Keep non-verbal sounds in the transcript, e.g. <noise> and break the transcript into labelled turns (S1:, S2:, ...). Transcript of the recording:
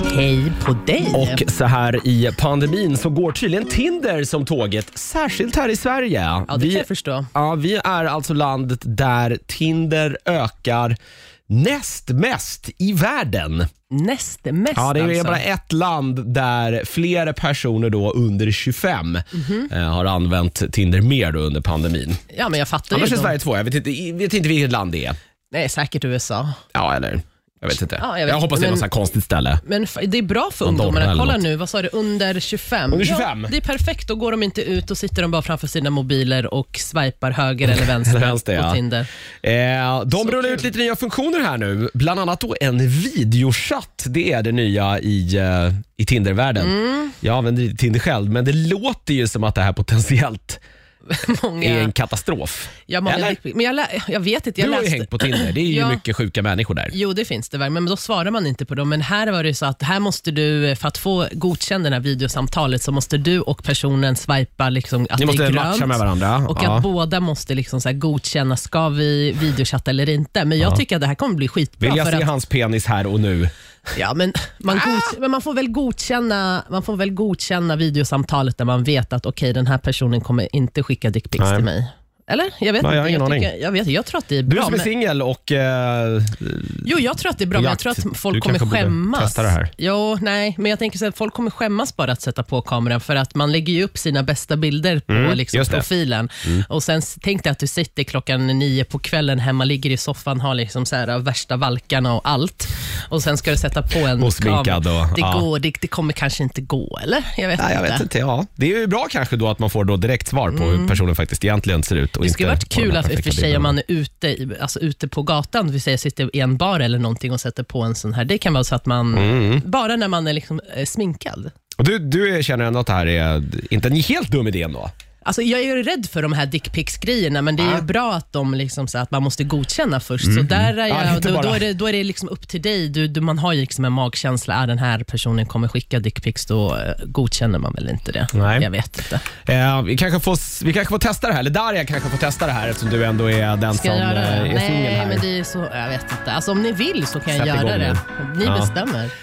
S1: Hej på dig!
S2: Och så här i pandemin så går tydligen Tinder som tåget, särskilt här i Sverige.
S1: ja, det kan jag förstå.
S2: ja, vi är alltså landet där Tinder ökar näst mest i världen.
S1: Näst mest
S2: Ja, det är
S1: alltså.
S2: bara ett land där fler personer då under 25 eh, har använt Tinder mer då under pandemin.
S1: Ja, men jag fattar
S2: Annars
S1: ju.
S2: är
S1: dem.
S2: Sverige två. Jag vet inte, jag vet inte vilket land det är.
S1: Nej, säkert USA.
S2: Ja, eller? Jag vet inte.
S1: Ja,
S2: jag,
S1: jag vet
S2: hoppas det är
S1: inte,
S2: något
S1: men-
S2: så här konstigt ställe.
S1: Men f- det är bra för
S2: Andorra
S1: ungdomarna.
S2: eller
S1: Kolla
S2: något.
S1: nu, vad sa du, under 25?
S2: Under 25?
S1: Ja, det är perfekt, då går de inte ut. Då sitter de bara framför sina mobiler och swipar höger eller vänster
S2: Eller <laughs> vänster, ja.
S1: på Tinder.
S2: Eh, de rullar ut lite nya funktioner här nu. Bland annat då en videochatt. Det är det nya i, eh, i Tinder-världen.
S1: Mm.
S2: Jag använder inte Tinder själv, men det låter ju som att det här potentiellt är
S1: Många,
S2: en katastrof.
S1: ja, många
S2: Eller?
S1: dickpic- men jag, lä- jag vet inte, jag
S2: Du har ju
S1: läste...
S2: hängt på Tinder. Det är ju
S1: Ja.
S2: mycket sjuka människor där.
S1: Jo, det finns det, verkligen, men då svarar man inte på dem. Men här var det ju så att här måste du, eh, för att få godkänd det här videosamtalet, så måste du och personen swipa liksom att
S2: Ni
S1: det
S2: måste
S1: är grönt.
S2: matcha med varandra.
S1: Och
S2: Ja.
S1: att båda måste liksom så här godkänna, ska vi videochatta eller inte? Men jag tycker att det här kommer bli skitbra.
S2: Vill jag
S1: för
S2: se
S1: att,
S2: hans penis här och nu?
S1: Ja, men, man godk- men man får väl godkänna, man får väl godkänna videosamtalet där man vet att okej, den här personen kommer inte skicka dickpics
S2: Nej.
S1: till mig. Eller? Jag vet inte.
S2: Nej, jag har ingen
S1: jag,
S2: aning.
S1: tycker, jag, vet, jag tror att det är
S2: Du
S1: bra.
S2: som är
S1: men,
S2: singel och... eh,
S1: jo, jag tror att det är bra, men jag tror
S2: Jakt,
S1: att folk
S2: du
S1: kommer
S2: kanske borde
S1: skämmas.
S2: testa det här.
S1: Jo, nej, men jag tänker så att folk kommer skämmas bara att sätta på kameran för att man lägger ju upp sina bästa bilder på liksom,
S2: Mm, just det. Mm.
S1: profilen. Och sen s- tänk dig att du sitter klockan nio på kvällen hemma, ligger i soffan, har liksom så här, värsta valkarna och allt. Och sen ska du sätta på en
S2: Och sminkad
S1: kamera.
S2: och-
S1: det,
S2: ja.
S1: går, det, det kommer kanske inte gå, eller? Jag vet
S2: Nej, jag
S1: inte. Mm.
S2: vet inte. Ja. Det är ju bra kanske då att man får då direkt svar på hur personen faktiskt egentligen ser ut. Och
S1: Det skulle
S2: inte
S1: varit
S2: på den
S1: kul
S2: här
S1: att, i och för
S2: perfekta
S1: sig om
S2: bilden.
S1: man är ute, i- alltså, ute på gatan, vi säger sitter i en bar eller någonting och sätter på en sån här. Det kan vara så att man,
S2: Mm.
S1: bara när man är liksom, eh, sminkad.
S2: Och Du, du känner ändå att det här är inte en helt dum idé ändå?
S1: Alltså, jag är ju rädd för de här dickpics-grejerna, men det är ju
S2: Ah.
S1: bra att, de liksom, så att man måste godkänna först. Så där är
S2: Mm. Ja,
S1: jag,
S2: inte
S1: då, då
S2: bara-
S1: är det, då är det liksom upp till dig. Du, du, man har ju liksom en magkänsla. Är den här personen kommer skicka dickpics, då eh, godkänner man väl inte det.
S2: Nej.
S1: Jag vet inte.
S2: Eh, vi, kanske får, vi kanske får testa det här, eller Darja kanske får testa det här eftersom du ändå är den
S1: Ska
S2: som
S1: jag
S2: eh,
S1: göra det?
S2: är singel
S1: Nej,
S2: här.
S1: men det är så... Jag vet inte. Alltså, om ni vill så kan jag
S2: Sätt
S1: göra
S2: igång
S1: det. Ni
S2: Ja.
S1: bestämmer.